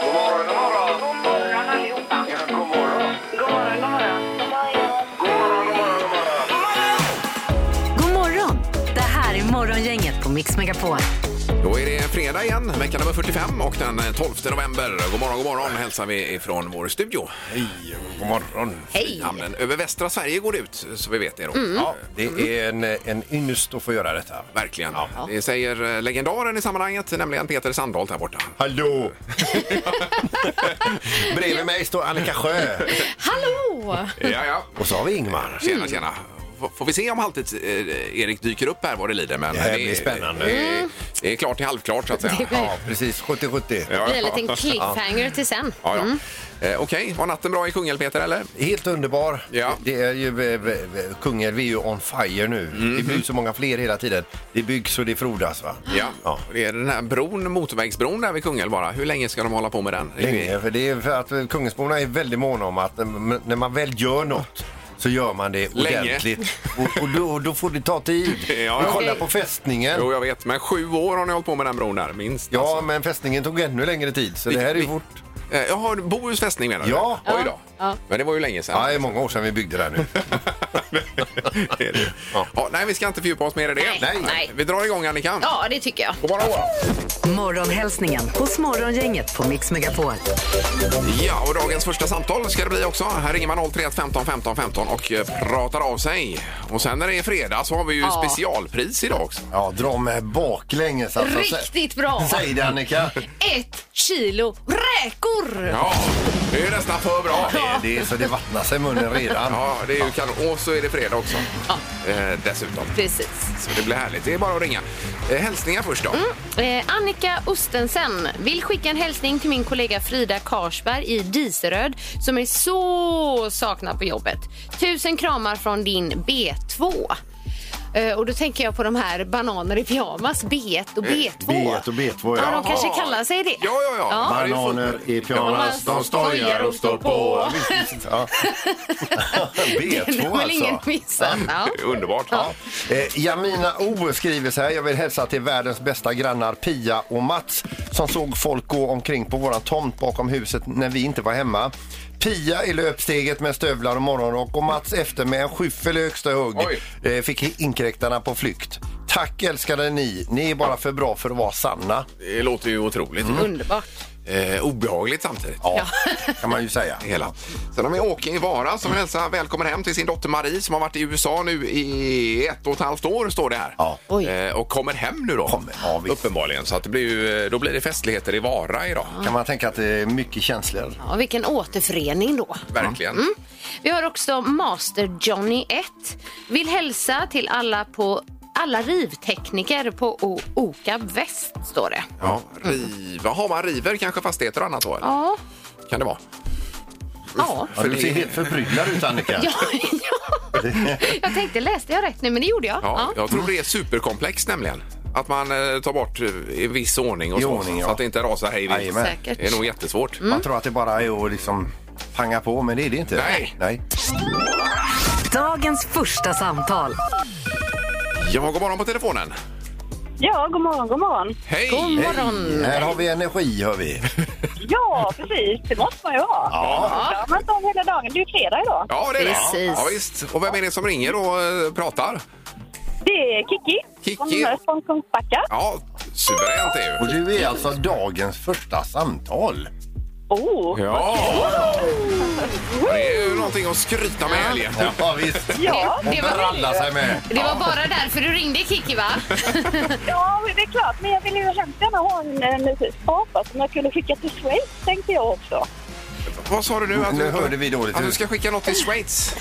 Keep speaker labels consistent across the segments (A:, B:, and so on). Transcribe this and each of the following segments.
A: God morgon, god morgon.
B: God morgon allihopa.
A: Ja, god morgon.
B: God morgon, god morgon.
A: God morgon, god morgon, god morgon.
C: God morgon! Det här är Morgongänget på Mix Megapol.
D: Då är det fredag igen, vecka nummer 45 och den 12 november. God morgon, god morgon hälsar vi ifrån vår studio.
E: Hej och god morgon.
C: Hej!
D: Namnen över västra Sverige går ut, så vi vet det då.
F: Mm.
E: Ja, det är en, en ynnest att få göra detta.
D: Verkligen. Det säger eh, legendaren i sammanhanget, nämligen Peter Sandholt här borta.
E: Hallå! Bredvid mig står Annika Sjö
F: Hallå!
D: Ja, ja.
E: och så har vi Ingmar.
D: Tjena, tjena. F- Får vi se om halvtids-Erik dyker upp här vad det lider. Men
E: Det här blir spännande.
D: Det är, det är klart till halvklart så att säga.
E: Ja, precis. 70-70.
F: Det blir en liten Mm. cliffhanger till sen.
D: Ja, ja. Eh, Okej, var natten bra i Kungälv Peter eller?
E: Helt underbar.
D: Ja.
E: Det är ju, eh, v- v- Kungälv vi är ju on fire nu.
D: Mm.
E: Det byggs så många fler hela tiden. Det byggs och det frodas. Va?
D: Ja. Det är den här bron, motorvägsbron där vid Kungälv bara. Hur länge ska de hålla på med den?
E: Länge, för det är för att Kungälvsborna är väldigt måna om att eh, m- när man väl gör något så gör man det
D: Länge.
E: ordentligt. Och, och då, då får det ta tid.
D: Ja.
E: Vi kollar på fästningen.
D: Jo, jag vet. Men sju år har ni hållit på med den bron där, minst.
E: Ja,
D: alltså.
E: men fästningen tog ännu längre tid, så det här är ju fort.
D: Eh, Jaha, Bohus fästning menar du?
E: Ja.
D: Oj då.
F: Ja.
D: Men det var ju länge sedan.
E: Ja, det är många år sedan vi byggde det här nu.
D: Det är det. Ja. nej, vi ska inte fördjupa oss mer i det.
F: Nej, Nej. nej.
D: Vi drar igång Annika.
F: Ja, det tycker jag.
D: God morgon.
C: Morgonhälsningen hos Morgongänget på Mix Megapol.
D: Ja, och dagens första samtal ska det bli också. Här ringer man 031 15 15 15 och eh, pratar av sig. Och sen när det är fredag så har vi ju
F: Ja.
D: specialpris idag också.
E: Ja, dra med baklänges alltså. Sä-
F: Riktigt bra!
E: Säg det Annika.
F: Ett kilo räkor!
D: Ja, det är ju nästan för bra.
E: Det är så det vattnar sig i munnen redan.
D: Ja, det är ju kanon. Och så är det fredag också. Eh, dessutom.
F: Precis.
D: Så det blir härligt. Det är bara att ringa. Eh, hälsningar först då.
F: Eh, Annika Ostensen vill skicka en hälsning till min kollega Frida Karsberg i Diseröd som är så saknad på jobbet. Tusen kramar från din B2. Eh, Och då tänker jag på de här bananer i pyjamas, B1 och B2.
E: B1 Eh, och B2, ja.
F: ja. de kanske kallar sig det.
D: Ja, ja, ja.
F: Ja.
E: Bananer i pyjamas, de stojar och står på. Ja.
F: Den
E: B2
F: vill ingen
E: alltså.
F: missa. Ja.
D: Det är Underbart. Ja.
E: Eh, Jamina O skriver så här. Jag vill hälsa till världens bästa grannar Pia och Mats som såg folk gå omkring på våran tomt bakom huset när vi inte var hemma. Pia i löpsteget med stövlar och morgonrock och Mats efter med en skyffel i högsta hugg.
D: Oj.
E: Eh, fick inkräktarna på flykt. Tack älskade ni. Ni är bara för bra för att vara sanna.
D: Det låter ju otroligt.
F: Underbart.
D: Eh, obehagligt samtidigt.
E: Ja, kan man ju säga.
D: Hela. Sen har vi Åke i Vara som vill hälsa välkommen hem till sin dotter Marie som har varit i USA nu i ett och ett halvt år står det här.
E: Ja.
F: Oj.
D: Eh, och kommer hem nu då.
E: Kommer, ja, visst.
D: Uppenbarligen. Så att det blir ju, eh, då blir det festligheter i Vara idag.
E: Kan man tänka att det är mycket känslor.
F: Ja, vilken återförening då.
D: Verkligen.
F: Mm. Vi har också Master Johnny 1. Vill hälsa till alla på alla rivtekniker på O- Oka Väst, står det.
D: Ja, riva. Har man river kanske fastigheter och annat då? eller?
F: Ja,
D: Kan det vara?
F: ja.
E: Ja, du ser helt förbryllad ut Annika.
F: ja, ja. Jag tänkte, läste jag rätt nu? Men det gjorde jag.
D: Ja,
F: Ja.
D: Jag tror det är superkomplext nämligen. Att man eh, tar bort eh, i viss ordning och
E: I
D: så,
E: ordning,
D: så
E: ja.
D: att det inte rasar hej vilt.
E: Jajamän.
F: Säkert. Mm.
D: Det är nog jättesvårt.
E: Man tror att det bara är att liksom panga på, men det är det inte.
D: Nej.
E: Nej.
C: Dagens första samtal.
D: Ja, god morgon på telefonen.
B: Ja, god morgon, god morgon.
D: Hej!
F: God morgon.
D: Mm.
E: Hej, Här har vi energi, hör vi.
B: Ja, precis. Det måste man ju ha. Ja. Man tar hela dagen. Det är ju fredag idag.
D: Ja, det är det.
F: Precis.
D: Ja, visst. Och vem är det som ringer och eh, pratar?
B: Det är Kiki.
D: Kiki.
B: Hon är från Kungsbacka.
D: Ja, suveränt är ju.
E: Och du är alltså dagens första samtal.
B: Oh,
D: Ja! Det är ju någonting att skryta med i helgen.
E: Ja, visst.
B: ja.
E: Och
F: Det var-
E: bralla sig med.
F: Det var bara därför du ringde, Kiki, va?
B: ja, det är klart. Men jag ville ju hemskt gärna ha en, en apa som jag kunde skicka till Schweiz, tänkte jag också.
D: Vad sa du nu? Att
E: Nu
D: du,
E: hörde vi dåligt.
D: att du ska skicka något till Schweiz?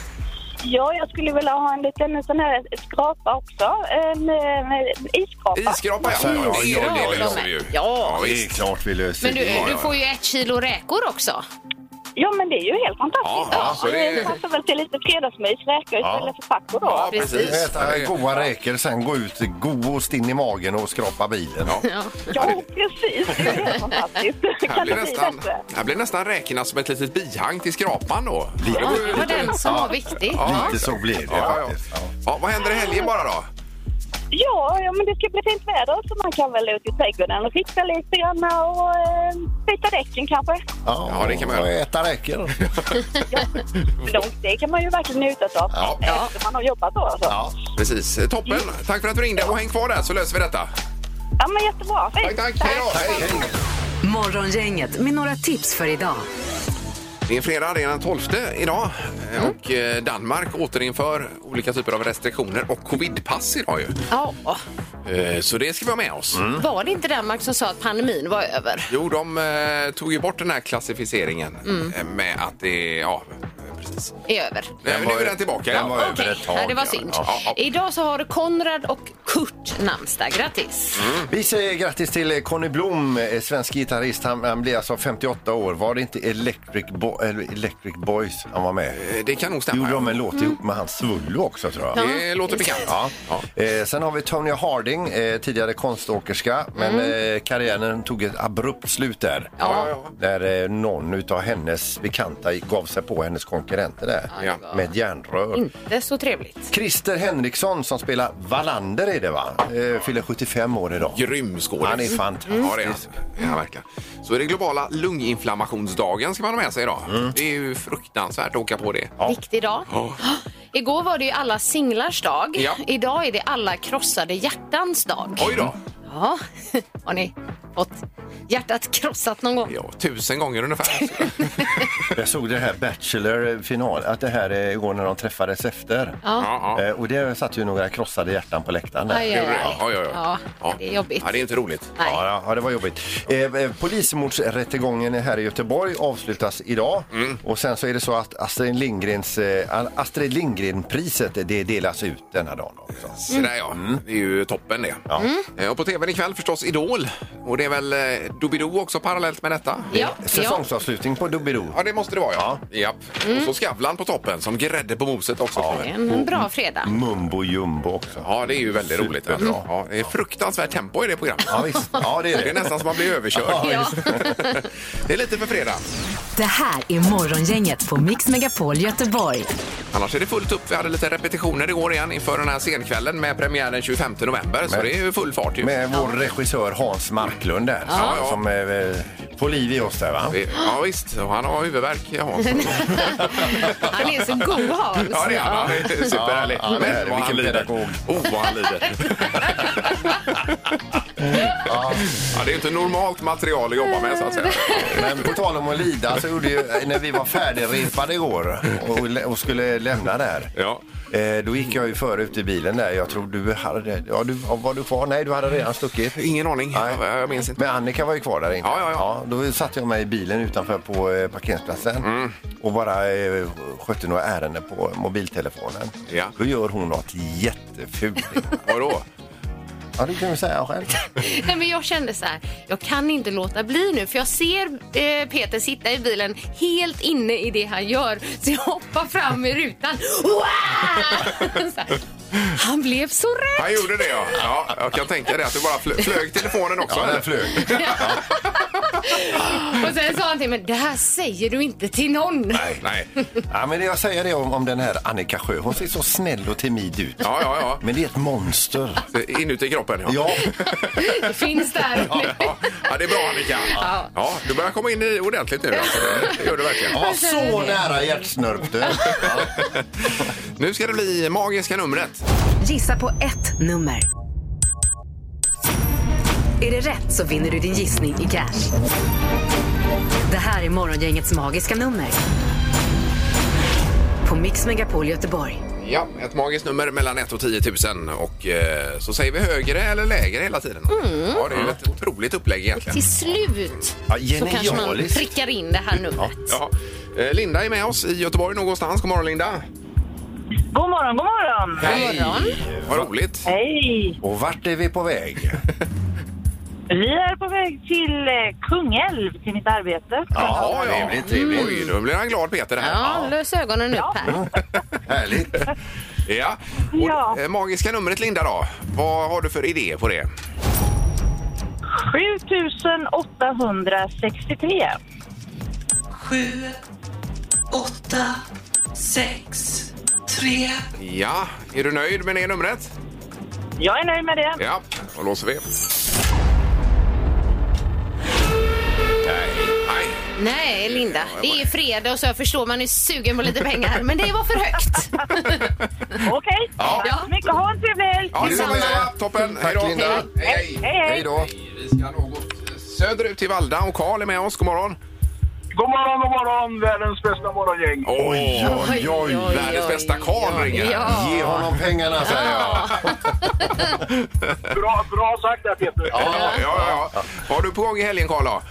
B: Ja, jag skulle vilja ha en liten sån här skrapa också. En, en, en isskrapa.
D: Isskrapa, ja.
E: Mm.
D: Ja,
E: Ja,
D: det- det
E: de
D: löser
F: är-
D: vi ju.
F: Ja.
E: Det är
D: visst.
E: klart vi löser
F: Men du,
E: det.
F: du får ju ett kilo räkor också.
B: Ja, men det är ju helt fantastiskt.
D: Ja, så det-
B: det passar väl till lite fredagsmys, räkor istället för taco då.
D: Ja,
F: precis.
D: precis. Ja,
E: Äta
D: det-
E: goa räkor, sen gå ut god och stinn i magen och skrapa bilen.
D: Ja.
B: Ja, precis. Det är helt fantastiskt.
D: Här
B: Kan
D: blir
B: det bli
D: nästan,
B: bättre?
D: här blir nästan räkorna som ett litet bihang till skrapan då.
F: Ja, det var den som var viktig.
D: Ja.
E: Lite så blir det
D: Ja, ja,
E: faktiskt.
D: ja. ja, vad händer i helgen bara då?
B: Ja, ja, men det ska bli fint väder så man kan väl ut i trädgården och fixa lite grann och eh, byta däcken kanske.
D: Ja, det kan man göra.
E: och Äta räcker.
D: Mm.
B: Långt det kan man ju verkligen njuta av
E: Ja.
B: efter man har jobbat då alltså. Ja,
E: Ja.
D: Precis. Toppen. Tack för att du ringde och häng kvar där så löser vi detta.
B: men jättebra. Fint.
D: Tack, tack. Hej då. Hej, hej.
C: Morgongänget med några tips för idag.
D: Det är fredag, det är den 12 idag Eh,
E: Mm.
D: och eh, Danmark återinför olika typer av restriktioner och covidpass idag ju.
F: Ja,
D: Eh, Så det ska vi ha med oss.
E: Mm.
F: var det inte Danmark som sa att pandemin var över?
D: Jo, de eh, tog ju bort den här klassificeringen
E: Mm.
D: eh, med att det, ja, precis.
F: Är över?
D: Nej, nu är den tillbaka.
E: Den var
D: ja. Eh,
E: över ett tag.
F: Ja, det var synd.
D: Ja, ja.
F: Idag så har Konrad och Kurt namnsdag. Grattis!
E: Vi säger grattis till eh, Conny Blom, eh, svensk gitarrist. Han, han blir alltså 58 år. Var det inte Electric, Bo- eller Electric Boys han var med
D: Eh, Det kan nog stämma.
E: Gjorde de en låt ihop med hans Svullo också tror jag.
D: Det låter bekant.
E: Ja. Eh, sen har vi Tonya Harding, eh, tidigare konståkerska. Men eh, karriären tog ett abrupt slut där.
D: Mm. Ja, ja,
E: Där eh, någon utav hennes bekanta gav sig på hennes konkurrenter där.
D: Ja. Mm.
E: Med ett järnrör.
F: Inte så trevligt.
E: Christer Henriksson som spelar Wallander är det va? Eh, fyller 75 år idag.
D: Grym skådis.
E: Han är fantastisk.
D: Ja, det är han. Det är han verkligen. Så är det globala lunginflammationsdagen ska man ha med sig idag. Det är ju fruktansvärt att åka på det.
E: Ja.
F: Viktig dag.
D: Ja.
F: Igår var det ju alla singlars dag.
D: Ja.
F: Idag är det alla krossade hjärtans dag.
D: Oj då!
F: Ja, har ni fått hjärtat krossat någon gång?
D: Ja, tusen gånger ungefär.
E: Jag såg det här Bachelor-final, att det här är igår när de träffades efter.
D: Ja, ja.
E: Eh, och det satt ju några krossade hjärtan på läktaren. Där.
F: Aj, aj, aj.
D: Ja, ja, ja.
F: Ja, det är jobbigt.
D: Ja, det är inte roligt.
F: Nej.
E: Ja, ja, ja, det var jobbigt. Eh, eh, polismordsrättegången här i Göteborg avslutas idag. Och sen så är det så att Astrid, Lindgrens, eh, Astrid Lindgren-priset det delas ut denna dagen också.
D: Så där ja, Mm. det är ju toppen det.
E: Ja.
F: Mm.
D: Eh, Och på tvn ikväll förstås Idol. Och det är väl eh, Doobidoo också parallellt med detta?
F: Ja, ja.
E: Säsongsavslutning på Doobidoo.
D: Ja, det måste det vara ja. Japp.
F: Mm.
D: Och så Skavlan på toppen som grädde på moset också.
F: Det är En bra fredag.
D: Mm.
E: Mumbo jumbo också.
D: Ja, det är ju väldigt roligt.
E: Superbra.
D: Bra. Ja, det är fruktansvärt tempo i det programmet.
E: Ja, visst. Ja, det är
D: Det är
E: det.
D: nästan som man blir överkörd.
F: Ja.
D: Det är lite för fredag.
C: Det här är Morgongänget på Mix Megapol Göteborg.
D: Annars är det fullt upp. Vi hade lite repetitioner igår igen inför den här senkvällen med premiär den 25 november. Så
E: Men-
D: det är ju full fart ju.
E: Med vår regissör Hans Marklund där,
D: Ja.
E: som eh, får liv i oss där va?
D: Det- Ja visst, och han har huvudvärk. Ja,
F: Han är så god Hans.
D: ja det är han. Han är superhärlig.
E: Ja, han är-
D: Men vad
E: vilken
D: han lider.
E: pedagog.
D: Oh, vad han lider. ja, det är inte normalt material att jobba med så att säga.
E: Men på tal om att lida så gjorde ju, när vi var färdigrepade igår och, lä- och skulle lämna där.
D: Ja.
E: Eh, då gick jag ju före ut i bilen där. Jag tror du hade, ja du, ja, var du kvar? Nej, du hade redan stuckit.
D: Ingen aning. Jag, jag minns inte.
E: Men Annika var ju kvar där inne.
D: Ja, ja, ja.
E: då satte jag mig i bilen utanför på eh, parkeringsplatsen
D: Mm.
E: och bara eh, skötte några ärenden på mobiltelefonen.
D: Ja.
E: Då gör hon något jättefult.
D: Vadå?
E: ja, det kan vi säga själv.
F: Nej, men jag kände så här, jag kan inte låta bli nu för jag ser eh, Peter sitta i bilen helt inne i det han gör. Så jag hoppar fram i rutan. Wow! Så här. Han blev så rädd.
D: Han gjorde det ja. ja. Jag kan tänka det att du bara flö- flög telefonen också.
E: Ja,
D: eller?
E: den flög.
F: Och sen sa han till mig, det här säger du inte till någon.
D: Nej. Nej.
E: Ja, men det jag säger det om, om den här Annika Sjö. Hon ser så snäll och timid ut.
D: Ja, ja, ja.
E: Men det är ett monster.
D: Inuti kroppen, ja.
E: Ja,
F: Det finns där.
D: Ja, ja, det är bra, Annika. Ja. du börjar komma in i ordentligt nu. Alltså. Det gör du verkligen.
E: jag var så nära hjärtsnörpte.
D: Nu ska det bli magiska numret.
C: Gissa på ett nummer. Är det rätt så vinner du din gissning i cash. Det här är Morgongängets magiska nummer. På Mix Megapol Göteborg.
D: Ja, ett magiskt nummer mellan 1 och 10 000. Och eh, så säger vi högre eller lägre hela tiden. Ja, det är ju ett otroligt upplägg egentligen.
F: Mm. Till slut
E: Ja,
F: så kanske man
E: genialiskt.
F: prickar in det här numret.
D: Ja. Eh, Linda är med oss i Göteborg någonstans. God morgon, Linda.
B: God morgon, god morgon.
D: Hej!
F: morgon.
D: Vad roligt.
B: Hej.
E: Och vart är vi på väg?
B: Vi är på väg till eh, Kungälv till mitt arbete.
D: Ja, ja.
E: trevligt, trevligt.
D: Oj, då blir han glad, Peter. Här.
F: Ja, lös ögonen upp här.
E: Härligt.
D: Ja.
B: Ja.
D: Och, eh, magiska numret, Linda, då. Vad har du för idé på det?
B: 7863.
G: 7, 8, 6, 3.
D: Ja, är du nöjd med det numret?
B: Jag är nöjd med det.
D: Ja, då låser vi. Nej, nej.
F: Nej, Linda. Det är fredag så jag förstår man är sugen på lite pengar. Men det var för högt.
B: Okej.
D: Ja.
B: Tack så mycket. Ha en trevlig helg.
D: Ja, det
F: Detsamma.
D: var Toppen, hej
E: Tack,
D: då.
E: Linda.
D: Hej, hej.
B: Hej, hej.
E: Hej då.
D: Vi ska något söderut till Valda och Karl är med oss. God morgon.
A: God morgon, god morgon, världens bästa morgongäng.
D: Oj,
F: oj, oj,
D: Världens
F: oj,
D: bästa Karl
F: oj.
D: ringer.
F: Ja.
E: Ge honom pengarna, säger jag.
A: Bra, bra sagt där, Peter.
D: Ja, ja, ja, ja. Vad har du på gång i helgen, Karl? då?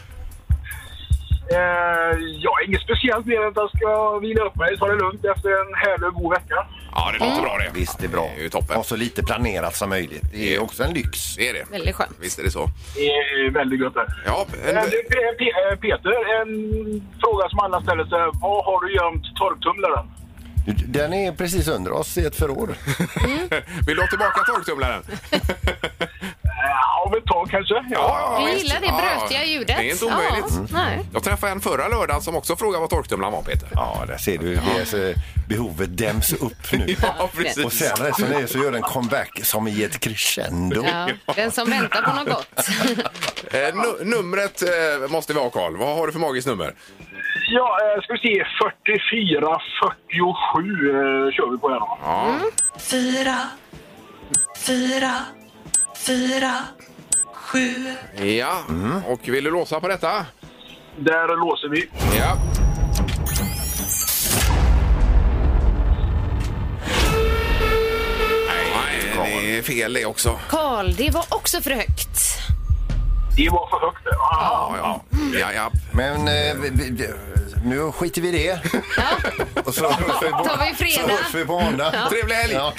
A: Eh, ja, inget speciellt mer än att jag ska vila upp mig, ta det lugnt efter en härlig och god vecka.
D: Ja, det låter bra det.
E: Visst, det är bra.
D: Det är ju toppen.
E: Ha så lite planerat som möjligt. Det är också en lyx.
D: Det är det.
F: Väldigt skönt.
D: Visst är det så.
A: Det är väldigt gött där.
D: Ja, en...
A: Eh, du, Pe- Pe- eh, Peter, en fråga som alla ställer sig. Var har du gömt torktumlaren?
E: Den är precis under oss i ett förråd.
D: Vill du ha tillbaka torktumlaren?
A: Eh, Om ett tag kanske. Ja.
F: Du
D: visst.
F: gillar det
D: Ja,
F: brötiga ljudet.
D: Det är inte omöjligt.
F: Ja, nej.
D: Jag träffade en förra lördagen som också frågade vad torktumlaren var, Peter.
E: Ja, där ser du. Det är så, behovet däms upp nu.
D: Ja,
E: Och sen resonerar så gör den comeback som i ett crescendo.
F: Ja, den som väntar på något gott.
D: Eh, nu, numret eh, måste vi ha, Karl. Vad har du för magiskt nummer?
A: Ja, eh, ska vi se. 44, 47 eh, kör vi på här då.
G: fyra, fyra, fyra, sju.
D: Ja,
F: Mhm.
D: och vill du låsa på detta?
A: Där låser vi.
D: Ja. Nej, nej, det är fel det också.
F: Karl, det var också för högt.
A: Det var för högt där. Ah.
D: Ja, ja. ja, ja.
E: Men eh, vi, vi, nu skiter vi i det. Och så hörs vi på,
F: Tar vi fredag.
E: så hörs vi på måndag.
D: Trevlig helg!
E: Ja.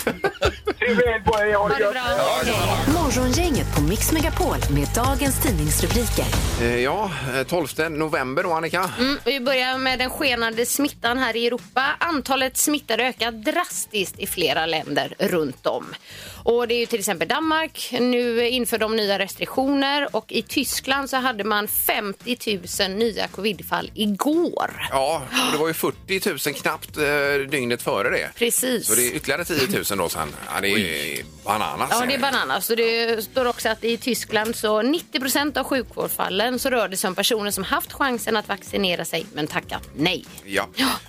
A: Trevlig helg på er. Ha
F: Ha
A: det
F: det
A: gött.
F: bra.
C: Morgongänget på Mix Megapol med dagens tidningsrubriker.
D: Eh, Ja, eh, 12 november då, Annika.
F: Mm, vi börjar med den skenande smittan här i Europa. Antalet smittade ökar drastiskt i flera länder runt om. Och det är ju till exempel Danmark. Nu inför de nya restriktioner och i Tyskland så hade man 50 000 nya covidfall igår.
D: Ja, och det var ju 40 000 knappt eh, dygnet före det.
F: Precis.
D: Så det är ytterligare 10 000 då sen. Ja, det är bananas.
F: Ja, det är bananas. Och det står också att i Tyskland så 90 av sjukvårdsfallen så rör det sig om personer som haft chansen att vaccinera sig men tackat nej.
D: Ja.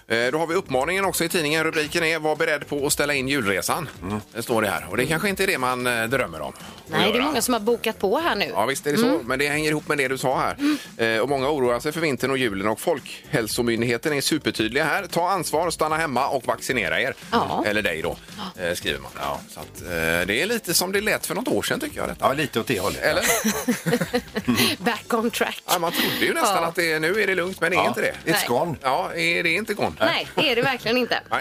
D: Eh, Då har vi uppmaningen också i tidningen. Rubriken är Var beredd på att ställa in julresan. Det står det här. Och det kanske inte är det man eh, drömmer om. att
F: Nej, det är
D: göra.
F: många som Mm. har bokat på här nu.
D: Ja, visst är det så. Men det hänger ihop med det du sa här.
F: Mm.
D: Eh, och många oroar sig för vintern och julen och Folkhälsomyndigheten är supertydliga här. Ta ansvar, stanna hemma och vaccinera er.
F: Ja.
D: Eller dig då, eh, skriver man. Så att, eh, det är lite som det lät för något år sedan tycker jag. Detta.
E: ja, lite åt det hållet.
D: Eller?
F: Back on track.
D: Ja, man trodde ju nästan
F: Ja.
D: att det, nu är det lugnt, men det är inte det.
E: It's gone.
D: Ja, är det inte gone?
F: Nej, det är det verkligen inte.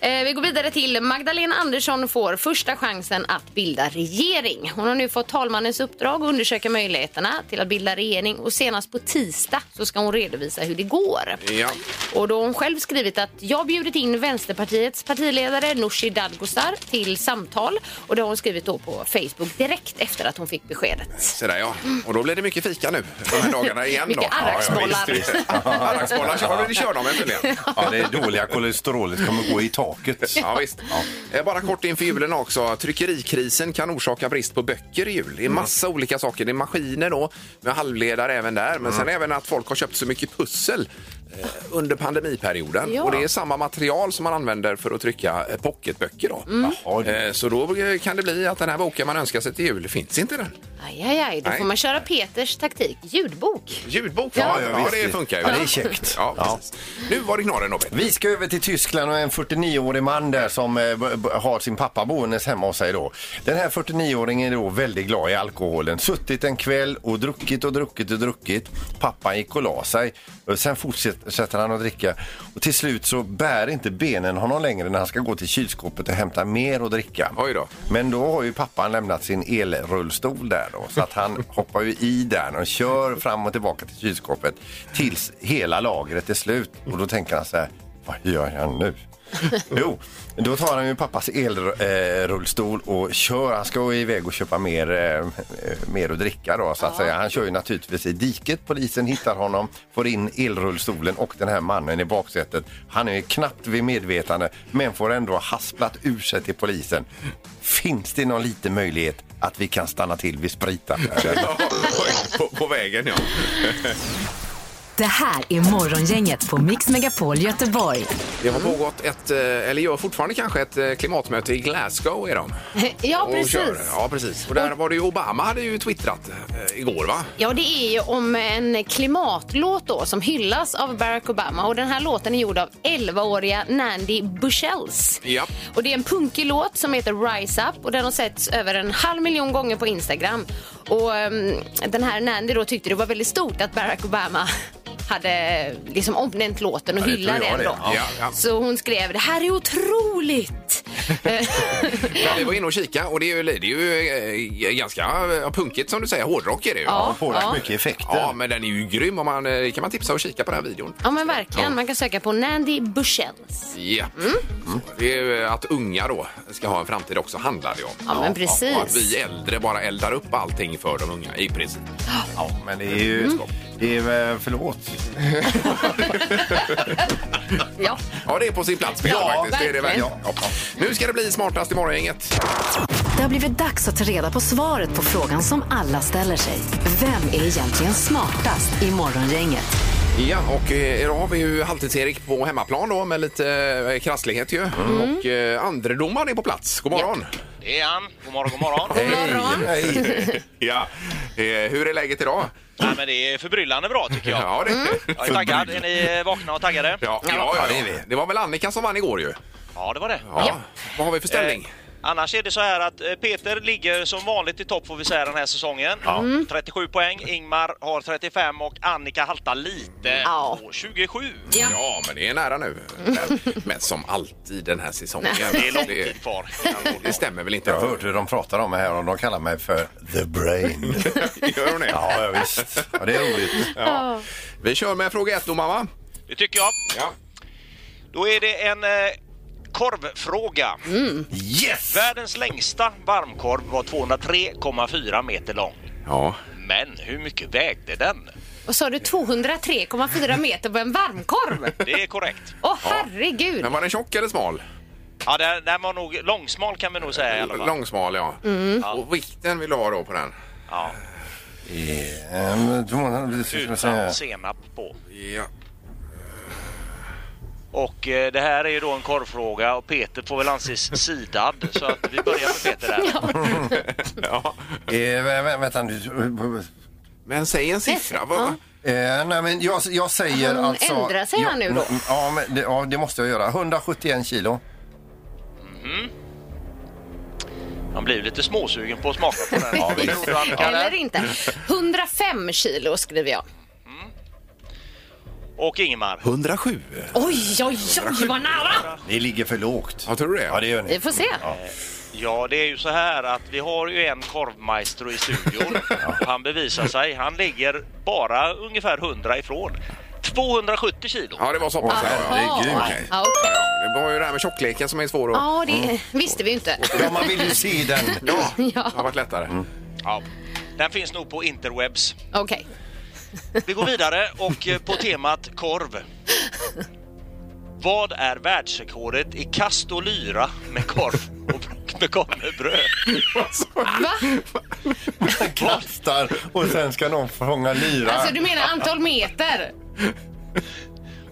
D: Nej.
F: Eh, vi går vidare till Magdalena Andersson får första chansen att bilda regering. Hon har nu fått talmannens uppdrag att undersöka möjligheterna till att bilda regering och senast på tisdag så ska hon redovisa hur det går.
D: Ja.
F: Och då har hon själv skrivit att jag har bjudit in Vänsterpartiets partiledare Nooshi Dadgostar till samtal och det har hon skrivit då på Facebook direkt efter att hon fick beskedet.
D: Så där, ja. Och då blir det mycket fika nu de här dagarna igen.
F: Mycket
D: då.
F: arraksbollar.
D: Ja, ja, visst, visst. Arraksbollar kör, kör de tydligen.
E: Ja, det är dåliga kolesterolet kommer gå i taket.
D: Ja, visst. Eh, Bara kort inför julen också. Tryckerikrisen kan orsaka brist på böcker i jul.
E: Mm.
D: Det är massa olika saker. Det är maskiner då, med halvledare även där. Men
E: Mm.
D: sen även att folk har köpt så mycket pussel eh, under pandemiperioden.
F: Ja.
D: Och det är samma material som man använder för att trycka eh, pocketböcker då.
E: Mm. Jaha, du.
D: Eh, Så då eh, kan det bli att den här boken man önskar sig till jul finns inte den.
F: Aj, aj, aj, då
D: Nej.
F: får man köra Peters taktik, ljudbok.
D: Ljudbok,
E: Ja, ja, visst.
D: det funkar ju.
E: Ja, det är käckt.
D: Ja,
E: Ja.
D: precis. Nu var det knorren då, Peter.
E: Vi ska över till Tyskland och en 49-årig man där som eh, b- b- har sin pappa boendes hemma hos sig då. Den här 49-åringen är då väldigt glad i alkoholen. Suttit en kväll och druckit och druckit och druckit. Pappan gick och la sig. Och Sen fortsätter han att dricka och till slut så bär inte benen honom längre när han ska gå till kylskåpet och hämta mer att dricka.
D: Oj då.
E: Men då har ju pappan lämnat sin elrullstol där då, så att han hoppar ju i den och kör fram och tillbaka till kylskåpet tills hela lagret är slut. Och då tänker han så här, vad gör jag nu? Jo, då tar han ju pappas elrullstol och kör. Han ska ju iväg och köpa mer, eh, mer att dricka då så att säga. Han kör ju naturligtvis i diket. Polisen hittar honom, får in elrullstolen och den här mannen i baksätet. Han är ju knappt vid medvetande men får ändå ha hasplat ur sig till polisen. Finns det någon liten möjlighet att vi kan stanna till vid spritaffären?
D: på, på vägen, ja.
C: Det här är Morgongänget på Mix Megapol Göteborg.
D: Det
F: Mm.
D: har pågått ett, eh, eller gör fortfarande kanske, ett eh, klimatmöte i Glasgow. Är de.
F: Ja,
D: Och kör.
F: precis.
D: Ja, precis. Och där var det ju Obama hade ju twittrat eh, igår, va?
F: Ja, det är ju om en klimatlåt då som hyllas av Barack Obama och den här låten är gjord av 11-åriga Nandy Bushells.
D: Ja.
F: Och det är en punkig låt som heter Rise Up och den har setts över en halv miljon gånger på Instagram. Och ehm, den här Nandy då tyckte det var väldigt stort att Barack Obama hade liksom omnämnt låten och
E: Ja, det
F: hyllade
E: tror jag
F: den då.
E: det, ja.
D: Ja, ja.
F: Så hon skrev det här är otroligt. Eh,
D: Ja, vi var inne och kika och det är ju, det är ju eh, ganska eh, punkigt som du säger. Hårdrock är det ju.
F: Ja.
E: Får rätt mycket effekter.
D: Ja, men den är ju grym. Om man, eh, kan man tipsa och kika på den här videon.
F: Ja men verkligen, Mm. man kan söka på Nandy Bushells.
D: Ja. Så Det är ju att unga då ska ha en framtid också, handlar det om.
F: Ja, men precis.
D: och att vi äldre bara eldar upp allting för de unga, i princip.
E: Ja, men det är ju... Det är, eh, förlåt.
F: Ja.
D: Ja, det är på sin plats. Peter,
F: Ja,
D: faktiskt. Det är det väl.
F: verkligen.
D: Ja, ja. Nu ska det bli smartast i morgongänget.
C: Det har blivit dags att ta reda på svaret på frågan som alla ställer sig. Vem är egentligen smartast i Morgongänget?
D: Ja, och eh, idag har vi ju Halvtids-Erik på hemmaplan då med lite eh, krasslighet ju. Och eh, andredomaren är på plats. God morgon!
H: Det är han. God morgon, god morgon.
F: God morgon.
D: Ja. Eh, hur är läget idag?
H: Nej, men det är förbryllande bra tycker jag.
D: Ja, det
H: Jag är taggad. Är ni eh, vakna och taggade?
D: Ja, ja, ja, det är vi. Det var väl Annika som vann igår ju?
H: Ja, det var det.
D: Ja. Eh, Vad har vi för ställning?
H: Annars är det så här att eh, Peter ligger som vanligt i topp får vi säga den här säsongen. 37 poäng, Ingmar har 35 och Annika haltar lite
F: Ja.
H: på 27.
D: Ja. men det är nära nu. Men, men som alltid den här säsongen.
H: Det är lång tid kvar.
D: Det, det stämmer väl inte?
E: Jag hörde hur de pratade om mig här och de kallar mig för the brain.
D: Gör hon det?
E: ja, ja, visst. Ja, det är roligt.
D: Ja. Vi kör med fråga ett då, mamma.
H: Det tycker jag.
D: Ja.
H: Då är det en eh, korvfråga.
E: Yes!
H: Världens längsta varmkorv var 203,4 meter lång.
D: ja.
H: Men hur mycket vägde den?
F: Och sa du 203,4 meter på en varmkorv?
H: Det är korrekt.
F: Åh herregud!
D: Men var den tjock eller smal?
H: Ja, den, den var nog långsmal kan vi nog säga i alla fall.
D: Långsmal, ja. Och vikten vill du ha då på den?
H: Ja,
E: Ehm, då måste man- ska jag säga. Eh,
H: utan senap på.
D: Ja.
H: Och eh, det här är ju då en korvfråga och Peter får väl anses sidad så att vi börjar med Peter där.
D: ja.
E: Eh, vä- vä- Vänta nu.
D: Men säg en siffra. Vad-
E: Eh, nej, men jag, jag säger
F: Han
E: alltså...
F: ändrar sig
E: Ja,
F: här nu då.
E: mm, Ja, men det, ja, det måste jag göra. 171 kilo.
H: Han blir ju lite småsugen på att smaka på den. Ja,
E: visst.
F: Eller inte. 105 kilo skriver jag.
H: Och Ingemar.
D: 107.
F: Oj, oj, oj vad nära!
E: Ni ligger för lågt.
D: Ja, tror du det?
E: Ja, det gör ni.
F: Vi får se.
H: Ja, det är ju så här att vi har ju en korvmaestro i studion. Och Han bevisar sig. Han ligger bara ungefär 100 ifrån. 270 kilo.
D: Ja, det var så pass. Ja, ja.
E: är grymt.
F: Jaha. Ja, okej.
D: Det var ju det här med tjockleken som är svår att...
F: Ja,
D: Mm.
F: det visste vi ju inte.
E: Ja, man vill ju se den.
D: Ja, det har varit lättare.
H: Ja. Den finns nog på interwebs.
F: Okej.
H: Vi går vidare och eh, på temat korv. Vad är världsrekordet i kast och lyra med korv och br- med korv med bröd?
F: Va?
E: Kastar och sen ska någon fånga lyra.
F: Alltså du menar antal meter?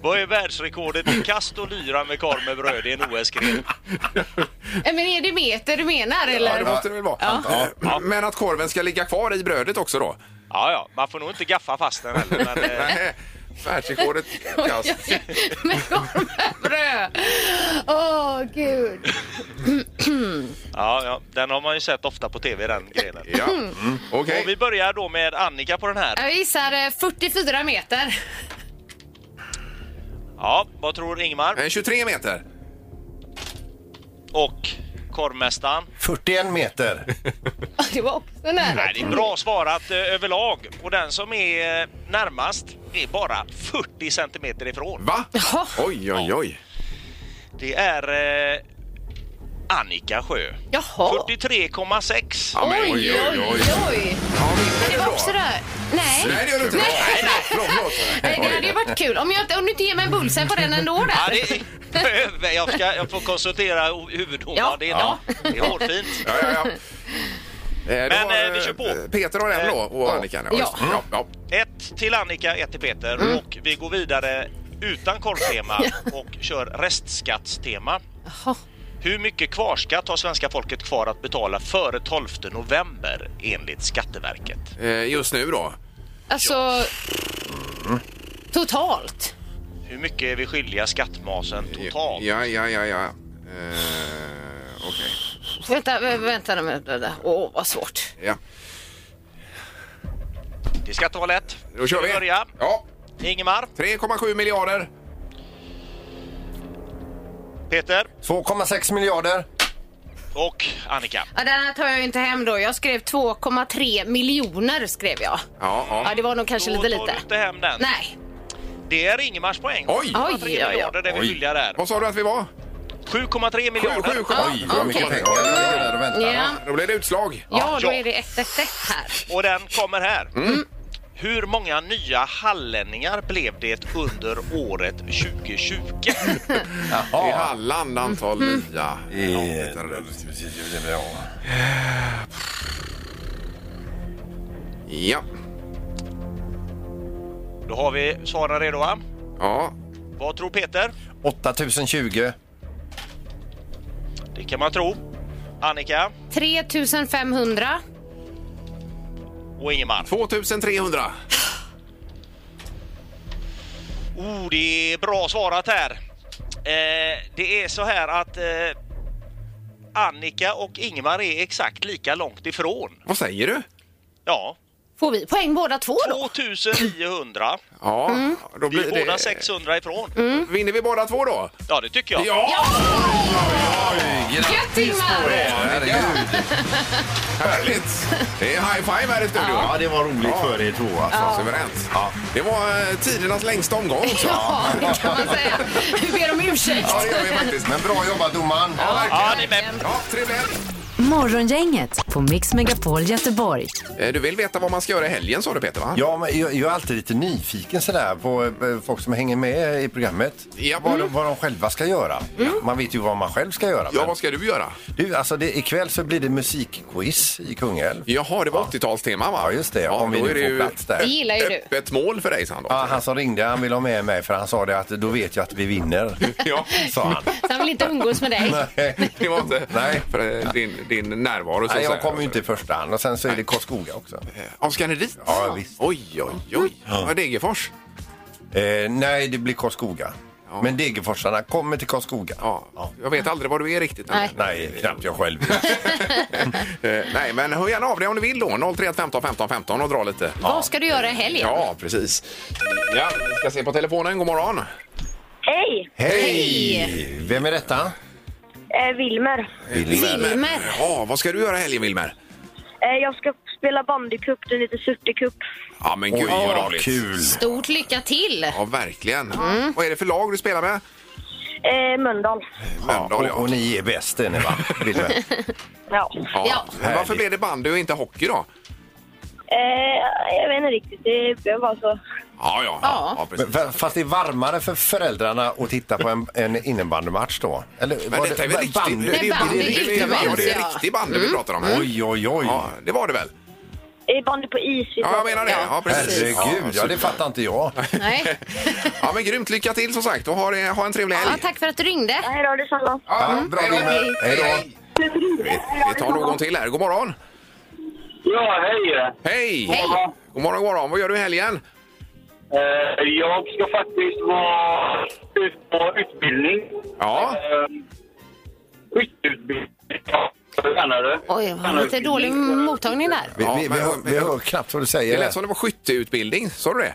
H: Vad är världsrekordet i kast och lyra med korv med bröd? Det är en OS-gren.
F: Äh, Men är det meter du menar
D: Ja, det
F: eller?
D: måste det väl vara. Eh, Men att korven ska ligga kvar i brödet också då?
H: Ja, ja, man får nog inte gaffa fast den heller. Men, eh,
D: Nej, Världsrekordet kast.
F: Med korv med bröd. Åh gud.
H: ja, ja, den har man ju sett ofta på tv, den grenen.
D: Ja. Mm. Okej.
H: Och vi börjar då med Annika på den här.
F: Jag gissar eh, 44 meter.
H: Ja, vad tror Ingmar?
D: Eh, 23 meter.
H: Och korvmästaren?
E: 41 meter.
F: Det var också nära.
H: Nej, det är bra svarat eh, överlag. Och den som är eh, närmast är bara 40 centimeter ifrån.
D: Va?
F: Jaha.
D: Oj, oj, oj.
H: Det är eh, Annika Sjö.
F: Jaha.
H: 43,6.
D: Ja, men
F: Oj, oj, oj.
D: Ja, men
F: Det var också rör. Nej.
D: Nej, det gör du inte. Nej, nej, förlåt, förlåt.
F: Nej, det hade ju varit kul. Om, jag, inte- om du inte ger mig en bullseye på den ändå
H: Ja,
F: där.
H: det, jag, ska, jag får konsultera o- huvuddomaren.
F: Ja.
H: Det, är,
F: Ja.
H: det är hårfint.
D: Ja, ja, ja. Eh, då
H: Men,
D: har,
H: eh, vi kör på. Mm.
D: eh, Peter har den då och
F: ja.
D: Annika.
F: Ja.
D: just det. Ja, ja.
H: Ett till Annika, ett till Peter.
F: Mm.
H: Och vi går vidare utan korvtema och kör restskattstema.
F: Jaha.
H: Hur mycket kvarskatt har svenska folket kvar att betala före 12 november enligt Skatteverket?
D: Eh, Just nu då?
F: Alltså... Totalt.
H: Hur mycket är vi skyldiga skattmasen totalt?
D: Ja, ja, ja. ja. Eh, Okej.
F: Vänta, vä- vänta. vänta, vänta. Åh, vad svårt.
D: Ja.
H: Det ska inte vara lätt.
D: Då kör vi.
H: Börja.
D: Ja,
H: Ingemar,
D: 3,7 miljarder.
H: Peter
E: 2,6 miljarder.
H: och Annika.
F: Ja, den här tar jag ju inte hem då. Jag skrev 2,3 miljoner skrev jag.
D: Ja, ja.
F: Ja, det var nog kanske
H: Då
F: lite
H: tar du
F: lite.
H: inte hem den.
F: Nej.
H: Det är Ingemars poäng.
D: Oj!
H: 7,3
F: Oj, oj, oj.
H: miljarder är vi skyldiga där.
D: Vad sa du att vi var?
H: 7,3 miljarder.
D: 7, 7,
E: Oj, vad mycket
F: okej.
E: pengar det ligger där och väntar.
F: Ja.
D: Då blir det utslag.
F: Ja, då
H: ja.
F: är det 1-1 här.
H: Och den kommer här.
D: Mm.
H: Hur många nya hallänningar blev det under året 2020?
D: I Halland antal nya. Ja, Peter. Ja.
H: Då har vi svaren redo va?
D: Ja.
H: Vad tror Peter?
E: 8020.
H: Det kan man tro. Annika
F: 3500.
H: och Ingemar.
D: 2300.
H: Oh, det är bra svarat här. Eh, det är så här att eh, Annika och Ingmar är exakt lika långt ifrån.
D: Vad säger du?
H: Ja,
F: Får vi poäng båda två då?
H: 2900.
D: Ja, då
H: Vi
D: blir
H: är
D: det... Mm.
H: båda 600 ifrån.
D: Vinner vi båda två då?
H: Ja, det tycker jag.
F: Gött Ingmar!
E: Herregud.
D: Härligt! Det är high five här i studion.
E: Ja, det var roligt för er två alltså.
D: Suveränt. Det var eh, tidernas längsta omgång också.
F: Ja, det kan man säga. Vi ber om ursäkt.
D: Ja, det gör vi faktiskt.
E: Men bra jobbat domaren.
H: Ja, ni är med.
D: Ja, trevlig helg.
C: Morgongänget på Mix Megapol Göteborg.
D: Eh, Du vill veta vad man ska göra i helgen sa du Peter va?
E: Ja, men jag, jag är alltid lite nyfiken sådär på eh, folk som hänger med i programmet.
D: Ja. Mm.
E: Vad, de, vad de själva ska göra. Man vet ju vad man själv ska göra.
D: Ja,
E: men-
D: vad ska du göra?
E: Du, alltså det, ikväll så blir det musikquiz i Kungälv.
D: Jaha, det var 80-talstema va?
E: Ja, just det.
D: Ja,
E: Om vi
D: då är det
E: nu får
D: ju
E: plats där.
F: Det gillar ju du.
D: öppet mål för dig Sandra.
E: Ja, han som ringde han ville ha med mig för han sa det att då vet jag att vi vinner,
D: Ja,
E: sa han.
F: Så han vill inte umgås med dig.
E: Nej.
D: det var inte
E: Nej.
D: för eh, din, din närvaro så
E: Nej,
D: att
E: jag
D: säga.
E: kommer ju inte i första hand. Och sen så är det Karlskoga också.
D: Ja, ska ni dit?
E: Ja, visst.
D: Oj, oj, oj. Ja. Degerfors.
E: Eh, nej, det blir Karlskoga. Men Degerforsarna kommer till Karlskoga.
D: Ja. Jag vet aldrig var du är riktigt.
F: Nej.
E: Nej, knappt jag själv vet.
D: Eh, Nej, men hör gärna av dig om du vill då. 031 15 15 15 och dra lite.
F: Vad ska du göra i helgen?
D: Ja, precis. Ja, vi ska se på telefonen. God morgon.
B: Hej!
E: Hej! Vem är detta?
B: Eh, Wilmer.
F: Wilmer.
D: Ja, vad ska du göra i helgen, Wilmer?
B: Eh, jag ska spela bandycup, den heter Surtecup.
D: Ja, men gud vad roligt.
E: kul! Mm.
F: Stort lycka till!
D: Ja, verkligen. Vad är det för lag du spelar med?
B: Eh, Mölndal.
E: Ja,
D: Mölndal,
E: och, och ni är bäst är ni va? Wilmer?
B: Ja.
F: Ja.
D: Men varför blev det bandy och inte hockey då?
B: Eh, jag vet inte riktigt, det behöver vara så.
D: Ja, ja.
F: Ja.
E: Men, fa- fast det är varmare för föräldrarna att titta på en, en innebandymatch då? Eller,
D: Men
E: var
D: detta är
E: ba-
D: väl riktigt?
E: bandy? Mm.
D: det- det-
F: bandy,
D: det- det- det-
F: inte
D: Ja, det är
F: bandy.
D: riktig bandy vi pratar om. här.
E: Oj, oj, oj!
D: Ja, det var det väl?
B: Eh, bandy på is. vi
D: Ja, jag
B: pratar
D: menar
B: om.
D: det. Ja, precis.
E: Herregud, ja,
D: Ja,
E: det fattar inte jag.
F: Nej.
D: ja, men grymt. Lycka till som sagt och ha, det- ha en trevlig
F: Ja,
D: helg.
F: tack för att du ringde.
B: Hej då, detsamma.
E: Ja, bra, Wilmer. Hej då!
D: Vi, vi tar någon till här. God morgon!
A: Ja, hej!
D: Hej!
F: Hej.
D: God morgon, god morgon. Vad gör du i helgen?
A: Eh, Jag ska faktiskt vara ut på utbildning.
D: Ja.
A: Eh, Skytteutbildning. Ja, Tränare.
F: Oj, vad lite dålig mottagning där.
E: Vi,
D: Ja,
E: vi, vi,
D: men-
E: hör, vi hör knappt vad du
D: Det
E: säger.
D: lät som det var skytteutbildning. Sa du det?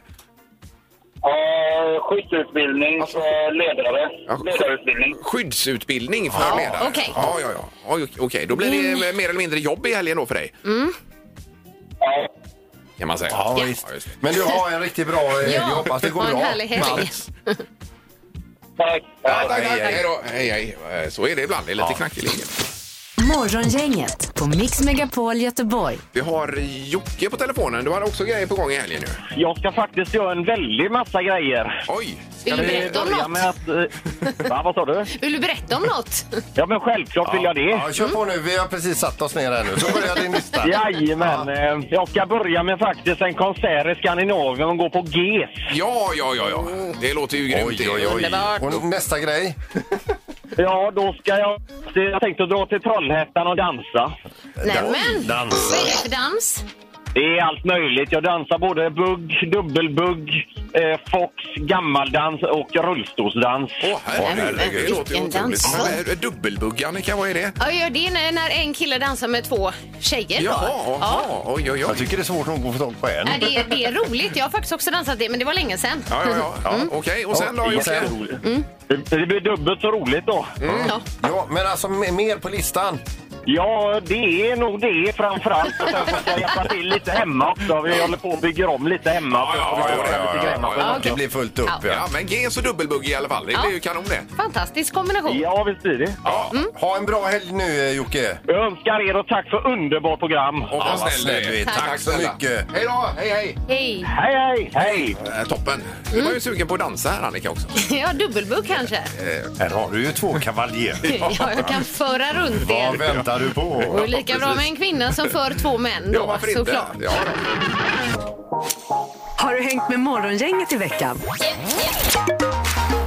A: Eh, Skytteutbildning för ledare.
D: Ja, sk-
A: Ledarutbildning.
D: Skyddsutbildning för ledare?
F: okej.
D: Ja, ja, ja. ja. Okej, då blir det mer eller mindre jobb i helgen då för dig?
A: Ja.
D: Kan man säga.
E: Ja, visst.
D: just det.
E: Men du har en riktigt bra helg.
F: Ja,
E: Jag hoppas det går
F: ha en
E: bra.
F: härlig helg.
E: med allt.
A: Tack.
D: Ja, tack, tack. Hej då. Hej, hej. Eh, Så är det ibland. Det är lite knackig linje.
C: Morgongänget på Mix Megapol Göteborg.
D: Vi har Jocke på telefonen. Du har också grejer på gång i helgen nu.
I: Jag ska faktiskt göra en väldig massa grejer.
D: Oj!
F: Vill du berätta om
I: Börja med
F: något?
I: att... eh, Va, vad sa du?
F: Vill du berätta om något?
I: Ja, men självklart vill jag det.
E: Ja, kör på nu. Vi har precis satt oss ner här nu. Så börjar din lista.
I: Jajamän.
E: Ja.
I: eh, Jag ska börja med faktiskt en konsert i Skandinavien och gå på GES.
D: Ja, ja, ja, ja. Det låter ju grymt.
E: Oj, oj, oj.
F: Underbart.
E: Och nästa grej.
I: Ja, då ska jag... Jag tänkte dra till Trollhättan och dansa.
F: Nämen!
E: Dans.
F: Vad är det för dans?
I: Det är allt möjligt. Jag dansar både bugg, dubbelbugg, eh, fox, gammaldans och rullstolsdans.
D: Åh, herregud.
F: Men,
D: Det låter ju
F: vilken
D: otroligt.
F: dans.
D: Men, eh, Dubbelbugg, Annika, vad är det?
F: Ja, ja, det är när- när en kille dansar med två tjejer.
D: Jaha,
F: bara. Ja.
D: jaha. Oj, oj,
E: Jag
D: oj.
E: tycker det är svårt att få tag på en.
F: Nej, det, är, det är roligt. Jag har faktiskt också dansat det, men det var länge sedan.
D: Ja, ja, ja.
F: Mm.
D: Okej, och sen då, Jocke?
E: Jätteroligt.
I: Det det blir dubbelt så roligt då.
F: Ja.
E: Ja, men alltså m- mer på listan.
I: Ja, det är nog det framförallt. Och sen ska jag hjälpa till lite hemma också. Vi håller på och bygger om lite hemma.
D: Ja, ja, ja, ja, ja, ja, ja.
E: Det blir fullt upp.
D: Ja, men GES och dubbelbugg i alla fall. Det
F: Ja.
D: blir ju kanon det.
F: Fantastisk kombination.
I: Ja, visst blir det.
E: Ja.
F: Mm.
E: Ha en bra helg nu, eh, Jocke.
I: Jag önskar er och tack för underbart program.
D: Och
E: Ja,
D: vad
E: vad
D: snäll du är.
E: Tack. så
D: snälla.
E: mycket.
D: Hej då! Hej, hej!
F: Hej.
I: Hej, hej! Hej!
D: Eh, Toppen. Du var ju sugen på att dansa här, Annika, också.
F: Mm. Ja, dubbelbugg kanske.
E: Här har du ju två kavaljer.
F: Ja, jag kan föra runt
E: Vad
F: er.
E: väntar du på?
F: Och lika bra med en kvinna som för två män
D: Ja,
F: då,
D: varför inte?
F: såklart.
D: Ja,
C: Har du hängt med Morgongänget i veckan?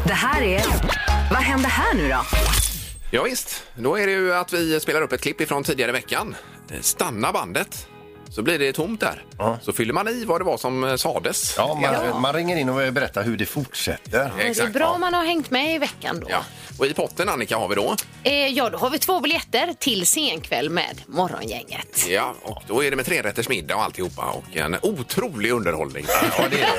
C: Det här är... Vad händer här nu då?
D: ja, visst. Då är det ju att vi spelar upp ett klipp ifrån tidigare veckan. Eh, Stanna bandet. Så blir det tomt där. Så fyller man i vad det var som eh, sades.
E: Ja, man, man ringer in och berättar hur det fortsätter.
F: Men det är
D: Exakt,
F: bra
D: ja.
F: om man har hängt med i veckan då.
D: Ja. Och i potten, Annika, har vi då.
F: Eh, ja, då har vi två biljetter till senkväll med Morgongänget.
D: Ja, och då är det med trerätters middag och alltihopa och en otrolig underhållning.
E: Ja, det är